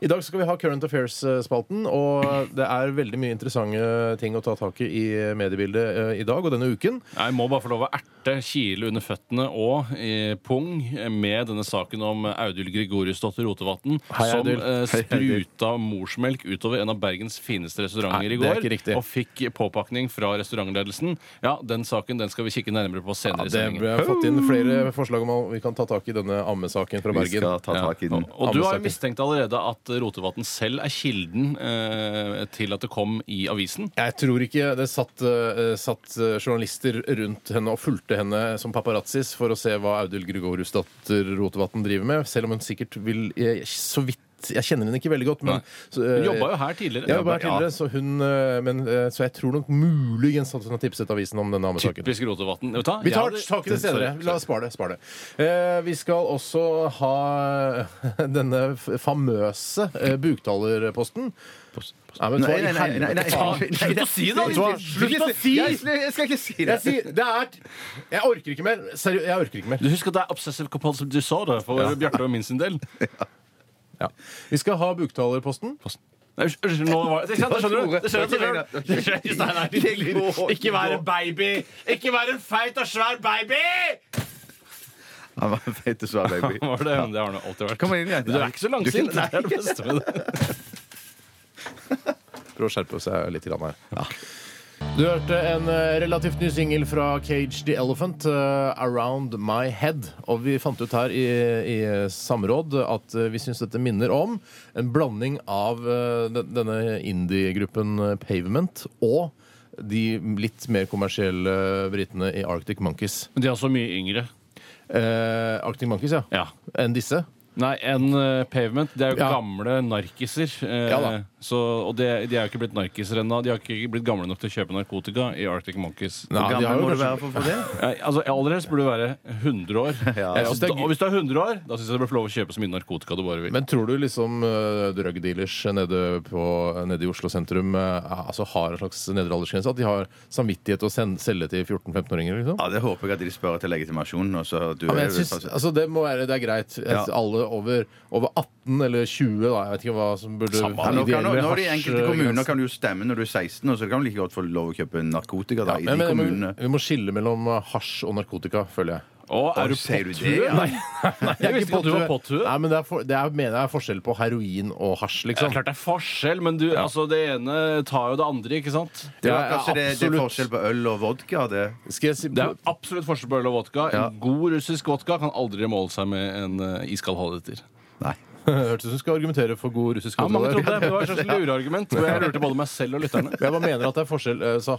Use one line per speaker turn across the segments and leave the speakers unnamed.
I dag skal vi ha Current Affairs-spalten, og det er veldig mye interessante ting å ta tak i i mediebildet eh, i dag og denne uken.
Jeg må bare få lov å erte, kile under føttene og eh, pung med denne saken om Audhild Gregoriusdotter Rotevatn
Hei,
som
Audhild.
eh,
Hei, Audhild.
spruta morsmelk utover en av Bergens fineste restauranter
Nei,
i
det er
går.
ikke riktig.
Og fikk påpakning fra restaurantledelsen. Ja, den saken den skal vi kikke nærmere på
Ja,
senere i
det
sendingen.
ble fått inn flere forslag om at vi kan ta tak i denne ammesaken fra
Vi
Bergen.
skal ta tak i den.
Og, og du har
Ammesaken.
jo mistenkt allerede at Rotevatn selv er kilden eh, til at det kom i avisen.
Jeg tror ikke det satt, eh, satt eh, journalister rundt henne og fulgte henne som paparazzis for å se hva Audhild Grugorusdatter Rotevatn driver med, selv om hun sikkert vil eh, Så vidt Jeg kjenner henne ikke veldig godt, men eh,
Nei. Hun jobba jo her tidligere.
Jeg jobba her tidligere, så hun eh, men, eh, Så jeg tror nok muligens at hun har tipset avisen om denne ammesaken.
Typisk Rotevatn. Vet du hva?
Vi tar
Jeg hadde-
tak i det senere.
Sorry.
La oss spare det. Spar det. Eh, vi skal også ha denne f- famøse eh, buktalerposten. Nei, men,
Nei, nei, nei, nei, nei, nei, nei,
Slutt å si det, da!
Vet du hva?
Slutt å si!
Jeg, jeg skal ikke si det!
Jeg sier, det er Jeg orker ikke mer. Seriøst, jeg orker ikke mer.
Du husker at det er Obsessive Compulsive Disorder for Bjarte og min sin del?
Vi skal ha buktalerposten.
Nei, Unnskyld, nå var det Ikke sant, skjønner du? Det skjønner du selv.
Det var ikke
Det skjønner du selv. Det skjønner du selv. Ikke vær en baby! Ikke vær en feit og svær baby!
Han var en feit og svær baby.
Var det, det har han alltid vært.
Kom igjen igjen.
Men Du er ikke så langsint. Det er det beste med det.
Prøv å skjerpe seg litt grann her. Du hørte en eh, relativt ny singel fra Cage the Elephant, eh, 'Around My Head'. Og vi fant ut her i, i eh, samråd at eh, vi syns dette minner om en blanding av eh, den- denne indie-gruppen eh, Pavement og de litt mer kommersielle britene i Arctic Monkeys.
Men de er også mye yngre.
Eh, Arctic Monkeys, ja.
Ja.
Enn disse.
Nei, en eh, pavement. Det er jo
Ja.
gamle narkiser. eh,
Ja da.
så, og det, de er jo ikke blitt narkiser ennå. De har ikke blitt gamle nok til å kjøpe narkotika i Arctic Monkeys.
Nei,
Hvor
de har
gammel
jo
må du
kanskje-
være for å få det?
Nei, altså, Aller helst burde du være 100 år.
Jeg
Og
synes det er
da-
gøy.
og hvis du er 100 år, da syns jeg du bør få lov å kjøpe så mye narkotika du bare vil.
Men tror du liksom eh, drug dealers nede, på, nede i Oslo sentrum eh, altså har en slags nedre aldersgrense? At de har samvittighet til å send, selge til 14-15-åringer? liksom?
Ja, det håper jeg at de spør til legitimasjonen. Og så du
Ja, men
er
jeg synes, altså det må være, det er greit. Jeg
Ja.
synes Alle over, over 18 eller 20, da. Jeg vet ikke hva som burde
Samme.
ja, nå kan, nå,
ideelle
nå er det I enkelte
hasjgrensen.
kommuner kan du jo stemme når du er 16, og så kan du like godt få lov å kjøpe narkotika da,
ja,
i
men,
de
men,
kommunene.
men, Vi må skille mellom eh, hasj og narkotika, føler jeg.
Å, er du
Ser du
potthue?
det, ja?
Nei, nei, jeg visste ikke at du var potthue.
Nei, men det er, for, det er, mener jeg er forskjell på heroin og hasj,
Det er
liksom.
klart det er forskjell, men du, altså, det ene tar jo det andre, ikke sant?
Det,
Ja,
er kanskje det, det er
absolutt.
forskjell på øl og vodka. Det.
Skal jeg si,
Det er absolutt forskjell på øl og vodka.
Ja.
En god russisk vodka kan aldri måle seg med en eh, iskald halvliter.
Nei.
Hørtes ut som du skal argumentere for god russisk
Ja, mange
der.
trodde det, men det var et slags lureargument. hvor Jeg lurte både meg selv og lytterne.
Men Jeg bare mener at det er forskjell eh, Så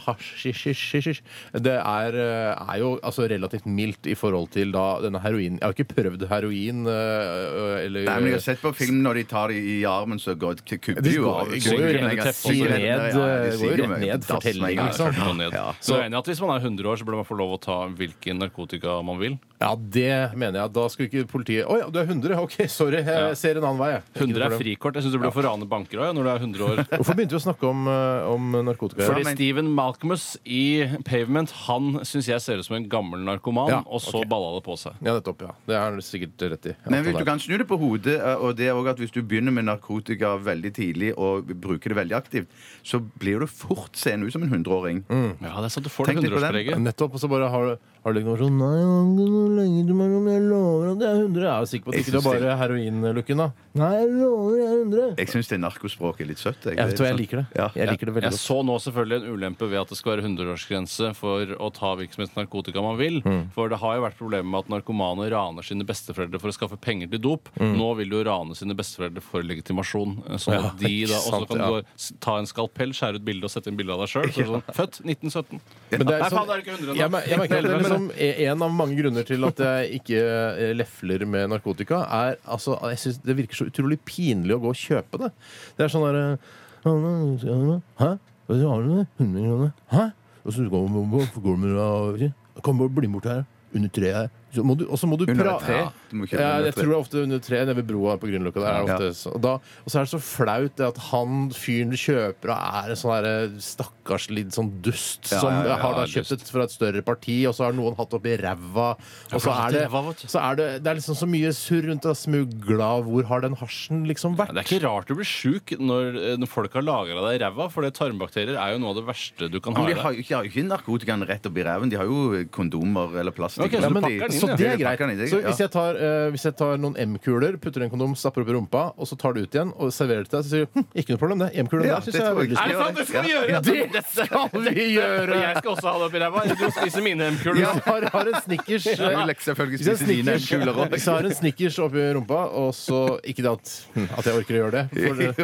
hasj-hish-hish Det er, eh, er jo altså, relativt mildt i forhold til da denne heroin Jeg har ikke prøvd heroin eh, eller
Nei, men Jeg har sett på film når de tar de i armen, så går de kupper de jo
går-
av.
går
jo
Synker
rett
med en gang.
ned,
Synker
rett
med en
ned,
gang. Ja, ja,
går
de synker
jo rett
med en gang.
ned,
Dass med en
fortellingen,
gang.
liksom.
Ført noen ned.
Ja.
Så jeg er enig i at Hvis man er 100 år, så bør man få lov å ta hvilken narkotika man vil.
Ja, det mener jeg Da skulle ikke politiet Åja, ja, du er 100, ok, sorry Jeg
Ja.
ser en annen vei jeg. Ikke noe
100 er
problem.
frikort. Jeg syns du burde få rane banker òg når du er 100 år.
Hvorfor begynte vi å snakke om, eh, om narkotika?
Fordi
Ja, men-
Steven Malcolmus i Pavement Han syns jeg ser ut som en gammel narkoman,
Ja,
og så balla det på seg.
Ja, nettopp, ja Det er du sikkert rett i
Men hvis du kan snu det på hodet, eh, og det er også at hvis du begynner med narkotika veldig tidlig og bruker det veldig aktivt, så blir du fort seende ut som en hundreåring.
Mm.
Ja, det er sant, Du får det
Tenk litt på den.
100-årspreget.
Nettopp, og så bare har du har du liksom sånn Nei, jeg har ikke noe lenger til meg, men jeg lover at det er 100. Jeg er jo sikker på at
Jeg
ikke det
synes
er bare heroinlooken, da. Nei, jeg lover jeg er 100.
Jeg syns det narkospråket er sånn- litt søtt. jeg.
Jeg, vet, hva, jeg liker det.
Ja.
Jeg liker det veldig
Jeg
godt.
så nå selvfølgelig en ulempe ved at det skal være 100-årsgrense for å ta virksomhetsnarkotika man vil. For det har jo vært problemer med at narkomane raner sine besteforeldre for å skaffe penger til dop. Nå vil de jo rane sine besteforeldre for legitimasjon. Sånn at
Ja,
de
ikke
da også
sant,
kan
ja.
gå, s- ta en skalpell, skjære ut bilde og sette inn bilde av deg sjøl. Sånn, Født 1917.
Men det er
Nei,
sånn-
faen, det er ikke 100 nå.
jeg, mer- jeg merker at det er liksom En av mange grunner til at jeg ikke eh, lefler med narkotika, er altså jeg synes Det virker så utrolig pinlig å gå og kjøpe det. Det er sånn derre Hæ? Hva så har du det? 100 kroner? Hæ? Og så går du med- hvorfor går du med det? Kom bort, bli med bort her. Under treet her. så må du, og så må du
Under
pra-
et tre.
Ja.
Du må kjøpe
Ja,
under
jeg
et tre.
tror det er ofte under tre nede ved broa på Grünerløkka. der er det
Ja.
ofte så- Og, da- og så er det så flaut det at han fyren du kjøper av, er en sånn derre stakkars litt sånn dust
Ja,
som
ja, ja,
har da
ja,
kjøpt
dust.
et fra et større parti, og så har noen hatt oppi ræva. Og så
for
er
det er ræva, vet du.
det, så er det, det er liksom så mye surr rundt det smugla. Hvor har den hasjen liksom vært?
Det er ikke rart du blir sjuk når, eh, når folk har lagra deg i ræva, for det tarmbakterier er jo noe av det verste du kan ha.
Men
i
de har
deg.
jo ikke, har jo ikke narkotikaen rett opp i ræven. De har jo kondomer eller plastikk.
Ok, så
eller
du
men-
noe.
pakker den
så det
inn, ja.
Ja,
er
du
greit.
pakker den inn, det er
Så
greit, ja.
hvis jeg tar, eh, hvis jeg tar noen M-kuler, putter en kondom, stapper opp i rumpa, og så tar det ut igjen og serverer det til deg, så sier du hm, ikke noe problem, det. M-kulen der
Ja, det
syns jeg er
tror jeg
veldig
ikke.
stor.
Er det sant? Det skal vi gjøre!
Det skal vi gjøre!
Og jeg skal også ha det oppi ræva. Du spiser mine M-kuler.
Jeg har, har en snickers eh,
Jeg vil selvfølgelig
hvis jeg
spise dine
snickers-
kuler også.
Hvis jeg har en snickers oppi rumpa, og så Ikke det at, hm, at jeg orker å gjøre det.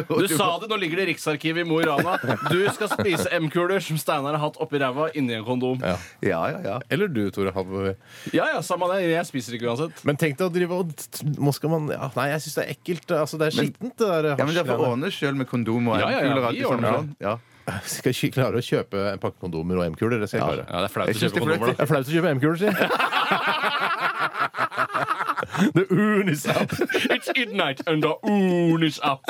For det
Du sa det, nå ligger det i Riksarkivet i Mo i Rana. Du skal spise M-kuler som Steinar har hatt oppi ræva inni en kondom. Ja.
Ja, ja, ja.
eller du, Tore. Hav-
ja samme det. Jeg spiser ikke uansett.
Men tenk deg å drive og Nå skal man ja, Nei, jeg syns det er ekkelt. Altså, det er skittent, det der
Ja, men Det er for å
hasjgreiene.
ordne sjøl med kondom og
Ja, ja, ja,
kuler.
vi
alltid
ordner
sammen sånn. Ja.
Skal jeg ikke klare å kjøpe en pakke kondomer og M-kuler. Det skal jeg klare.
Ja, det er flaut
Jeg
å
synes
kjøpe
det er
kondomer,
Det
da.
er flaut å kjøpe M-kuler, sier jeg. The urn is up.
It's midnight and the moon is up.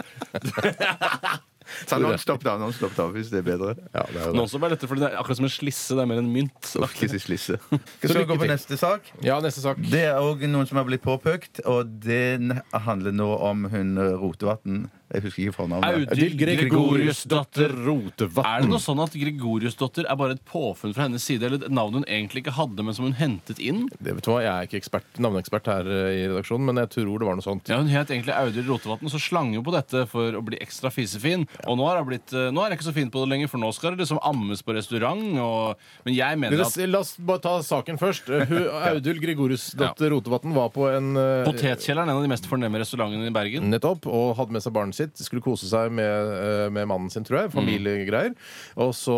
Ta nonstop, da. Nonstop, da, hvis det er bedre.
Ja, det er jo det.
Noen som er lettere, for det er akkurat som en slisse. Det er mer en mynt.
Uff, disse slisse.
Så
Skal vi
lykke
gå på
til.
neste sak?
ja, neste sak.
Det er òg noen som har blitt påpøkt, og det n- handler nå om hun eh, Rotevatn. Jeg husker ikke fornavnet.
Audhild Gregoriusdatter
Rotevatn.
Er det noe sånn at Gregoriusdotter er bare et påfunn fra hennes side, eller et navn hun egentlig ikke hadde, men som hun hentet inn?
Det vet du hva, Jeg er ikke ekspert, navneekspert her eh, i redaksjonen, men jeg tror det var noe sånt.
Ja, Hun het egentlig Audhild Rotevatn, så slang hun på dette for å bli ekstra fisefin. Og nå er, hun blitt, eh, nå er jeg ikke så fin på det lenger, for nå skal det liksom ammes på restaurant. Og, men jeg
Men
mener
det-
at
La oss bare ta saken først. Eh, Hun, Audhild Gregoriusdatter Rotevatn var på en eh,
Potetkjelleren er en av de mest fornemme restaurantene i Bergen.
Nettopp, og hadde med seg barnet sitt. Skulle kose seg med, eh, med mannen sin, tror jeg. Familiegreier. Og så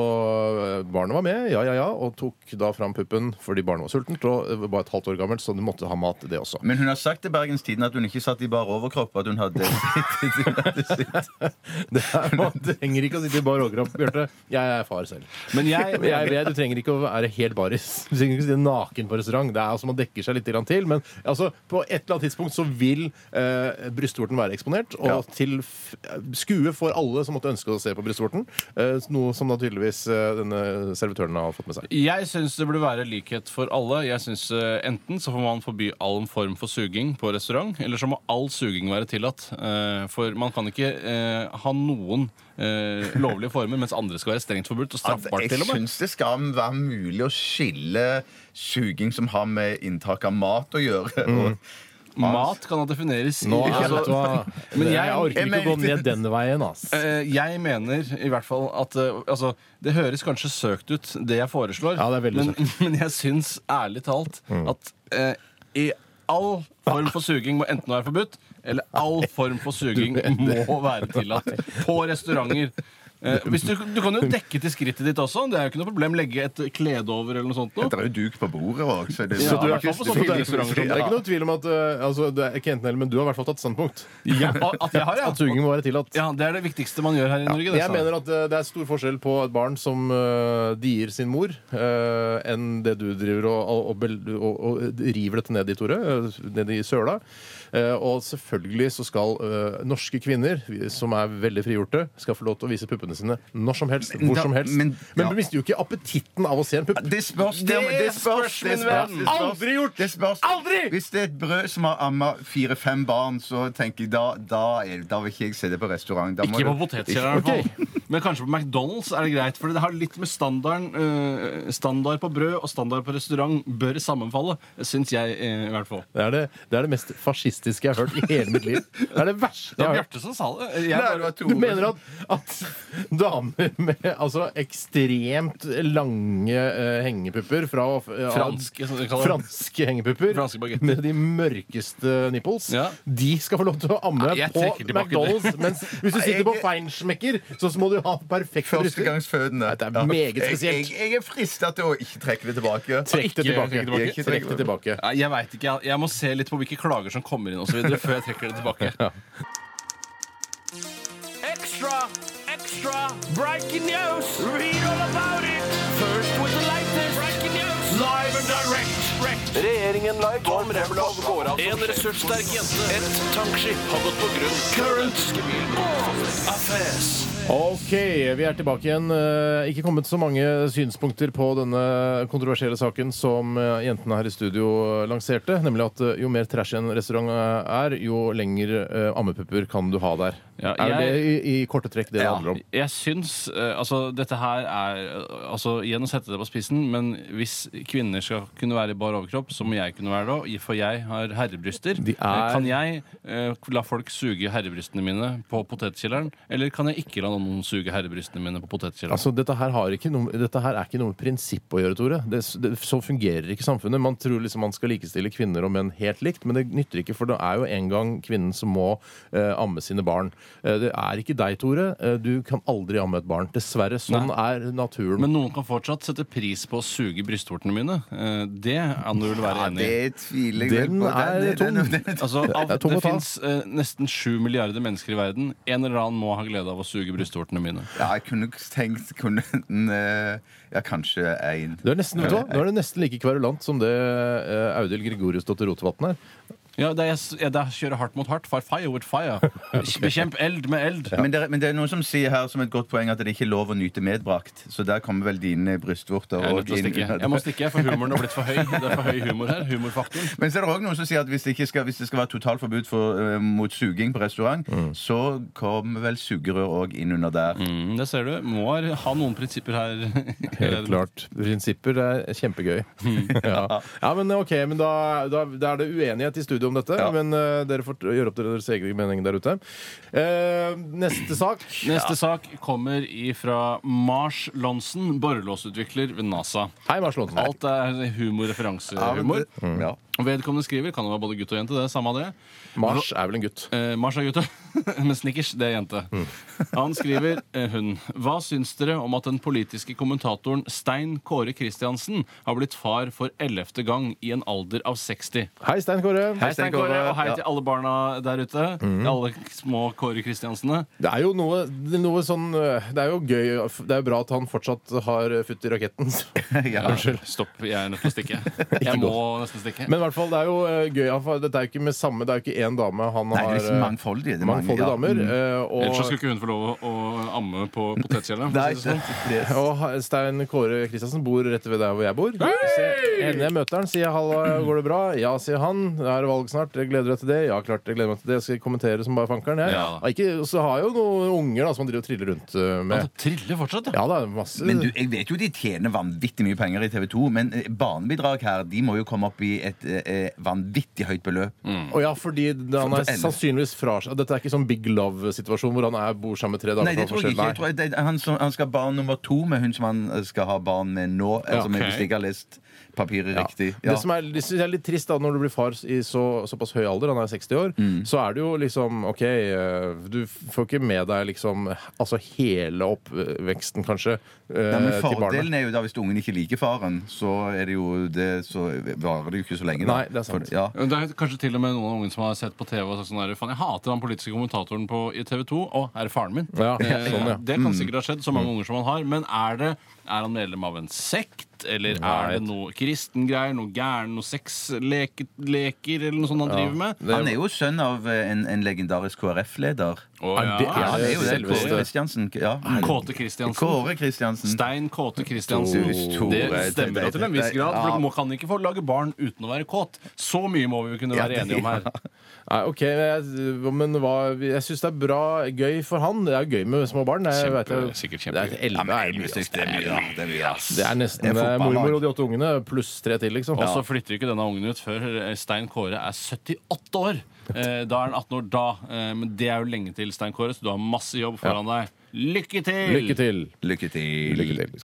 eh, Barnet var med, ja, ja, ja, og tok da fram puppen fordi barnet var sultent og eh, var et halvt år gammelt, så det måtte ha mat, det også.
Men hun har sagt til Bergens Tidende at hun ikke satt i bar overkropp. At hun hadde
Det er, man trenger ikke å sitte i bar overkropp, Bjarte. Jeg er far selv.
Men jeg,
Jeg vet, Du trenger ikke å være helt baris. Du trenger ikke å sitte naken på restaurant. Det er altså Man dekker seg litt grann til, men altså, på et eller annet tidspunkt så vil eh, brystvorten være eksponert. Og
Ja.
til f eh, skue for alle som måtte ønske å se på brystvorten. Eh, noe som da tydeligvis eh, denne servitøren har fått med seg.
Jeg syns det burde være likhet for alle. Jeg synes, eh, Enten så får man forby all form for suging på restaurant, eller så må all suging være tillatt. Eh, For man kan ikke eh, ha noen eh, lovlige former, mens andre skal være strengt forbudt og straffbart.
Altså, Jeg
til og med.
syns det skal være mulig å skille suging som har med inntak av mat å gjøre. Og
Mat kan da defineres i-
Nå er
altså,
vet du hva,
Men
jeg,
jeg-
orker
jeg
ikke å gå
mener-
ned den veien, ass.
eh, Jeg mener i hvert fall at eh, altså, Det høres kanskje søkt ut, det jeg foreslår,
Ja, det er veldig Mm.
men, men jeg syns ærlig talt at eh, i all form for suging må enten være forbudt, eller all form for suging må være tillatt på restauranter. Eh, hvis du, du kan jo dekke til skrittet ditt også. Det er jo ikke noe problem. Legge et klede over eller noe sånt. Noe.
Det er jo duk på bordet òg. Så det
Ja,
Så du er,
i hvert fall på
så
sånne
du er,
restauranter
det
som-
er ikke noe tvil om at eh, altså, det er ikke enten eller, men du har i hvert fall tatt standpunkt.
Ja, at jeg har, ja.
At suging må være tillatt.
ja. Det er det viktigste man gjør her i Norge. det,
Jeg
sa
mener at eh, det er stor forskjell på et barn som eh, dier sin mor, eh, enn det du driver og, og, og, bel- og, og river dette ned i, Tore. eh, Ned i søla. Eh, og selvfølgelig så skal eh, norske kvinner, vi- som er veldig frigjorte, skal få lov til å vise puppene sine når som helst, hvor
da-
som helst. Men,
men- ja.
du mister jo ikke appetitten av å se en pupp.
Det spørs, det,
Det
det spørs,
spørs,
det
min
spørs,
venn.
det spørs.
Aldri gjort.
Det spørs.
Aldri!
Hvis det er et brød som har amma fire-fem barn, så tenker jeg da, da, er, da vil ikke jeg se det på restaurant. Da må
Ikke på
du-
potetkjelleren, i hvert fall. Men kanskje på McDonald's er det greit. For det har litt med standarden eh, Standard på brød og standard på restaurant bør sammenfalle, syns jeg eh, i hvert fall.
Det er det, det er det mest fascistiske jeg har hørt i hele mitt liv. Det er det verste
Det
jeg
var
har hørt.
Bjarte som sa det. Jeg
Nei, det
bare,
var
Du mener at, at damer med altså, ekstremt lange eh, hengepupper fra eh,
Franske, som de kaller det.
franske hengepupper
Franske baguetter.
med de mørkeste nipples,
Ja.
de skal få lov til å amme
Nei, jeg
på
trekker tilbake
McDonald's. Mens hvis du
Nei,
sitter
jeg-
på Feinschmecker, så må du ha perfekt bryster.
Førstegangsfødende.
Dette er meget spesielt.
Jeg, jeg, jeg er frista til å ikke trekke det tilbake.
Trekk det
Ikke
tilbake.
trekke tilbake.
Ikke Trekk det tilbake.
Nei, jeg vet ikke. Jeg, jeg må se litt på hvilke klager som kommer inn, og så videre, før jeg trekker det tilbake.
Extra, extra, breaking news. Read all about it. First with the latest breaking news. Live and direct Regjeringen live Tom Remlov går av En ressurssterk jente Et tankskip har gått på grunn Current Affairs
OK, vi er tilbake igjen. Eh, Ikke kommet så mange synspunkter på denne kontroversielle saken som eh, jentene her i studio eh, lanserte, nemlig at eh, jo mer trash en restaurant eh, er, jo lengre eh, ammepupper kan du ha der.
Ja,
er
jeg-
det i, i korte trekk det det handler om?
Jeg syns eh, Altså, dette her er eh, Altså, igjen å sette det på spissen, men hvis kvinner skal kunne være i bar overkropp, så må jeg kunne være det òg, for jeg har herrebryster.
De er-
Eh, Kan jeg eh, la folk suge herrebrystene mine på potetkjelleren, eller kan jeg ikke la noen suge herrebrystene mine på potetkjelleren?
Altså, dette, her har ikke noe, dette her er ikke noe prinsipp å gjøre, Tore. Det, det, så fungerer ikke samfunnet. Man tror liksom man skal likestille kvinner og menn helt likt, men det nytter ikke, for det er jo en gang kvinnen som må eh, amme sine barn. Eh, det er ikke deg, Tore. Eh, du kan aldri amme et barn. Dessverre. Sånn er naturen.
Men noen kan fortsatt sette pris på å suge brystvortene mine. Eh, Det kan du vel være enig i?
Det tviler jeg
Den
vel på.
er
den-
tung.
den- den-
Altså,
Det er
av, det
tom å ta.
fins nesten sju milliarder mennesker i verden. En eller annen må ha glede av å suge brystvortene mine.
Ja, jeg kunne tenkt kunne, den, eh, Ja, kanskje én.
Du er nesten, vet du hva? Nå er du nesten like kverulant som det eh, Audhild Gregoriusdotter Rotevatn er.
Ja, det er, ja, det er kjøre hardt mot hardt. Fire fire with fire. Bekjemp eld med eld.
Men det, er- men det er noen som sier her som et godt poeng at det ikke er lov å nyte medbrakt. Så der kommer vel dine brystvorter.
Jeg er
og
nødt til å
din-
stikke. Jeg må stikke, for humoren har blitt for høy. Det er for høy humor her. Humorfaktoren.
Men så er det også noen som sier at hvis det, ikke skal, hvis det skal være totalforbud for, eh, mot suging på restaurant,
Mm.
så kommer vel sugerør òg inn under der.
Mm, det ser du. Må ha noen prinsipper her.
Helt klart. Prinsipper er kjempegøy. Ja, ja men ok, men da, da, da er det uenighet i studio om dette. Men eh, dere får gjøre opp deres egen mening der ute. Eh, neste sak.
Neste sak kommer ifra Mars Lonsen, borrelåsutvikler ved NASA.
Hei, Mars Lonsen.
Alt er humor, referansehumor.
Mm.
Ja.
Vedkommende skriver, kan jo være både gutt og jente, det er samme av det.
Mars er vel en gutt.
Eh, Mars er gutte, men Snickers det er jente. Han skriver eh, hun. Hva syns dere om at den politiske kommentatoren Stein Kåre Kristiansen har blitt far for ellevte gang i en alder av 60?
Hei, Stein Kåre.
Hei, Stein Kåre, og hei
Ja.
til alle barna der ute. Alle små Kåre Kristiansene.
Det er jo noe, det er noe sånn eh, Det er jo gøy Det er jo bra at han fortsatt har eh, futt i raketten.
Ja.
Unnskyld.
Stopp, jeg er nødt til å stikke. Jeg må nesten stikke.
Men i hvert fall, det er jo eh, gøy. han får- Dette er jo ikke med samme Det er jo ikke én dame han
Nei,
har
det er liksom
eh,
mangfoldig. Det er mange,
Mangfoldige
ja.
damer.
Mm.
eh,
Ellers så
Og
skulle ikke hun få lov å å amme på potetkjellet.
Nei,
sånn,
det,
sånn.
det,
Og ha- Stein Kåre Kristiansen bor rett ved der hvor jeg bor. Så Hender jeg møter han, sier jeg 'halla, går det bra'? Ja, sier han. Det er valg snart, jeg gleder deg til det? Ja, klart jeg gleder meg til det. Jeg skal kommentere som bare fankeren, jeg.
Ja.
Ja, ikke- Og så har jeg jo noen unger da, som han driver og triller rundt eh, med.
Triller fortsatt, ja.
Ja, det er masse
Men du, jeg vet jo de tjener vanvittig mye penger i TV 2, men eh, barnebidrag her de må jo komme opp i et eh, eh, vanvittig høyt beløp.
Og ja, fordi han er sannsynligvis fra seg Dette er ikke sånn Big Love-situasjon hvor han er, bor sammen med tre damer
Nei, det
fra
tror jeg ikke.
forskjellige-
Jeg tror det, er han, som, han skal ha barn nummer to med hun som han eh, skal ha barn med nå.
Ja,
altså, men
ok.
Hvis jeg ikke har lest papiret
Ja.
riktig. Ja.
Det som er, det synes jeg er litt trist da når du blir far i så, såpass høy alder, han er 60 år,
Mm.
så er det jo liksom OK, eh, du får ikke med deg liksom altså hele oppveksten, kanskje, eh,
Nei, men
til
Fordelen
barnet.
er jo da hvis ungen ikke liker faren, så, er det jo det, så varer det jo ikke så lenge. Da.
Nei, det er sant.
For- ja.
Det er kanskje til og med noen av ungene som har sett på TV og sagt sånn der, Faen, jeg hater han politiske kommentatoren på, i TV 2. Å, er det faren min?
Ja,
Eh,
sånn, ja.
Det kan
Mm.
sikkert ha skjedd, så mange unger som han har. Men er det er han medlem av en sekt, eller er det noe kristengreier, noe gæren, noe sexleker eller noe sånt han driver med?
Han er jo sønn av eh, en, en legendarisk KrF-leder.
Å,
Er det-
Ja, han er jo det.
Selveste.
Kåre Kristiansen. Ja.
Kåte Kristiansen.
Kåre Kristiansen.
Stein Kåte Kristiansen.
Tore,
Det stemmer da til en viss
det-
grad. For
ja.
man kan ikke få lage barn uten å være kåt. Så mye må vi jo kunne
Ja,
være
det-
enige om her.
Nei, OK, jeg, men hva Jeg syns det er bra gøy for han. Det er gøy med små barn. Jeg,
Kjempe-
vet jo-
sikkert
Det
kjempegøy.
er, elleve er mye, ass.
Det er mye, da. Det er mye, ass.
det er nesten
Det er
eh,
fotballag.
mormor og de åtte ungene pluss tre til, liksom.
Og så flytter ikke denne ungen ut før eh, Stein Kåre er 78 år. Eh, Da er han 18 år da. Eh, Men det er jo lenge til, Stein Kåre, så du har masse jobb foran deg. Lykke til!
Lykke til.
Lykke til.
Lykke til.